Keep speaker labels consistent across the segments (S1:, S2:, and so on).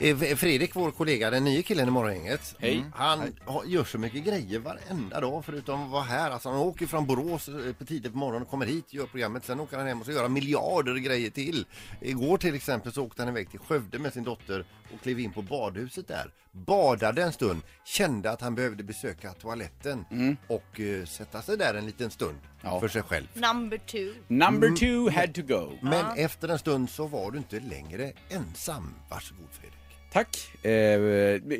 S1: Eh, Fredrik, vår kollega, den nya killen i Morgongänget. Mm. Han har- gör så mycket grejer varenda dag förutom att vara här. Alltså, han åker från Borås eh, på tidigt på morgonen och kommer hit, gör programmet. Sen åker han hem och så gör han miljarder grejer till. Igår till exempel så åkte han iväg till Skövde med sin dotter och klev in på badhuset där. Badade en stund, kände att han behövde besöka toaletten och eh, sätta sig där en liten stund
S2: Ja.
S1: för sig själv.
S3: Number two.
S2: Number two had to go.
S1: Men efter en stund så var du inte längre ensam. Varsågod Fredrik.
S2: Tack. Eh,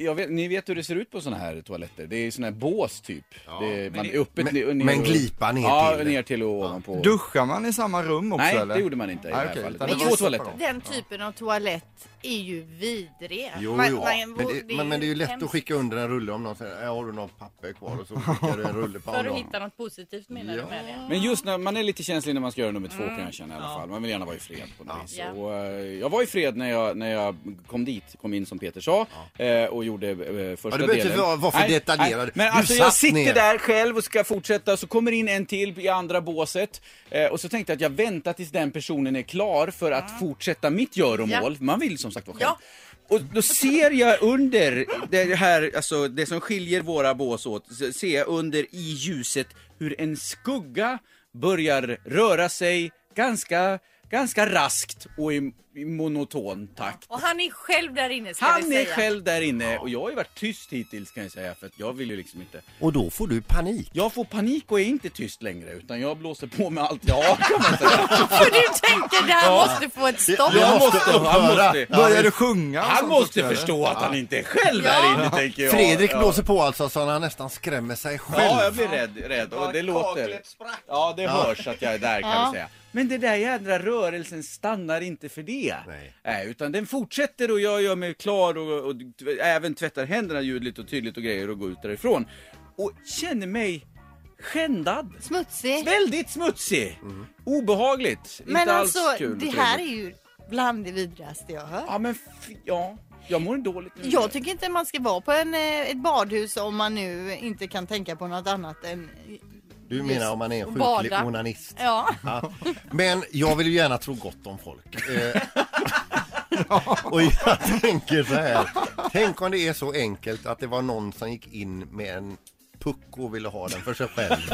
S2: jag vet, ni vet hur det ser ut på såna här toaletter. Det är såna här bås typ. det, man är uppe
S1: men-
S2: ner,
S1: men glipa ner
S2: ja,
S1: till.
S2: ner till och ovanpå.
S4: Duschar man i samma rum också
S2: Nej,
S4: eller?
S2: det gjorde man inte i
S4: Nej,
S2: det här
S4: okej,
S2: fallet.
S4: utan
S2: Men
S4: det
S2: två
S4: var-
S2: toaletter.
S3: Den typen av toalett är ju vidrig.
S1: Jo,
S3: Man-
S1: jo.
S3: man-
S1: men, det, men, men det är ju lätt
S3: hemskt.
S1: att skicka under en rulle om någon säger "Ja, har du något papper kvar och så skickar du en rulle på
S5: För
S1: honom.
S5: att hitta något positivt menar
S1: Ja.
S5: du med det?
S2: Men just när man är lite känslig när man ska göra nummer två kan jag känna i alla fall. Man vill gärna vara i fred på något vis.
S5: Mm. Ja.
S2: Och, eh, jag var i fred när jag, när jag kom dit, kom in som Peter sa eh, och gjorde eh, första delen.
S1: du behöver inte vara- vara för detaljerad.
S2: Nej, men
S1: Du
S2: alltså jag
S1: satt
S2: sitter
S1: ner.
S2: där själv och ska fortsätta så kommer in en till i andra båset eh, och så tänkte jag att jag väntar tills den personen är klar för att fortsätta mitt göromål. Man vill som sagt vara själv.
S3: Ja.
S2: Och då ser jag under det här, alltså det som skiljer våra bås åt, så ser jag under i ljuset hur en skugga börjar röra sig ganska, ganska raskt och i, i monoton takt.
S5: Och han är själv där inne ska vi
S2: Han är
S5: säga.
S2: själv där inne och jag har ju varit tyst hittills kan jag säga för att jag vill ju liksom inte.
S1: Och då får du panik.
S2: Jag får panik och är inte tyst längre utan jag blåser på med allt jag har kan man säga.
S3: För du tänker det här måste få ett stopp.
S1: Jag måste
S2: han måste,
S4: Börjar du sjunga? och
S2: han
S4: sånt också,
S2: måste
S4: eller?
S2: förstå att han inte är själv där inne tänker jag.
S1: Fredrik
S2: Ja.
S1: blåser på alltså så han nästan skrämmer sig själv.
S2: Ja, jag blir rädd. rädd. Och det låter... Ja, det hörs att jag är där kan vi säga. Men den där jädra rörelsen stannar inte för det.
S1: Nej.
S2: utan den fortsätter och jag gör mig klar och, och t- även tvättar händerna ljudligt och tydligt och grejer och går ut därifrån. Och känner mig skändad.
S3: Smutsig.
S2: Väldigt smutsig. Obehagligt.
S3: Men
S2: inte
S3: alltså,
S2: alls kul. och
S3: det här är
S2: trevligt.
S3: ju bland det vidrigaste jag hört.
S2: Ja, men f- ja. Jag mår dåligt nu.
S3: Jag tycker inte man ska vara på en, eh, ett badhus om man nu inte kan tänka på något annat än...
S1: Du menar om man är en
S5: Bada.
S1: sjuklig onanist.
S3: Ja.
S1: Ja. Men jag vill ju gärna tro gott om folk. Eh, Och jag tänker så här. Tänk om det är så enkelt att det var någon som gick in med en puck och ville ha den för sig själv.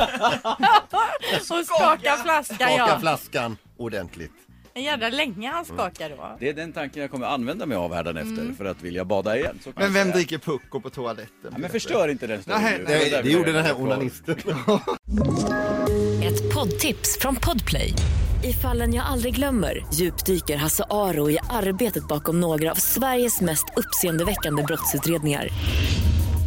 S5: Och skakar flaskan
S1: Skaka
S5: ja.
S1: flaskan ordentligt.
S5: En jävla länge han skakar då.
S2: Det är den tanken jag kommer använda mig av hädanefter
S3: Mm.
S2: för att vilja bada igen. Så kan
S4: Men
S2: jag
S4: vem
S2: säga.
S4: dricker pucko på toaletten?
S2: Ja, men förstör inte den storyn
S4: Nej,
S2: nu.
S4: nej,
S2: var där
S1: Det, det
S2: vi
S1: gjorde
S2: började.
S1: den här onanisten.
S6: Ett poddtips från Podplay. I fallen jag aldrig glömmer djupdyker Hasse Aro i arbetet bakom några av Sveriges mest uppseendeväckande brottsutredningar.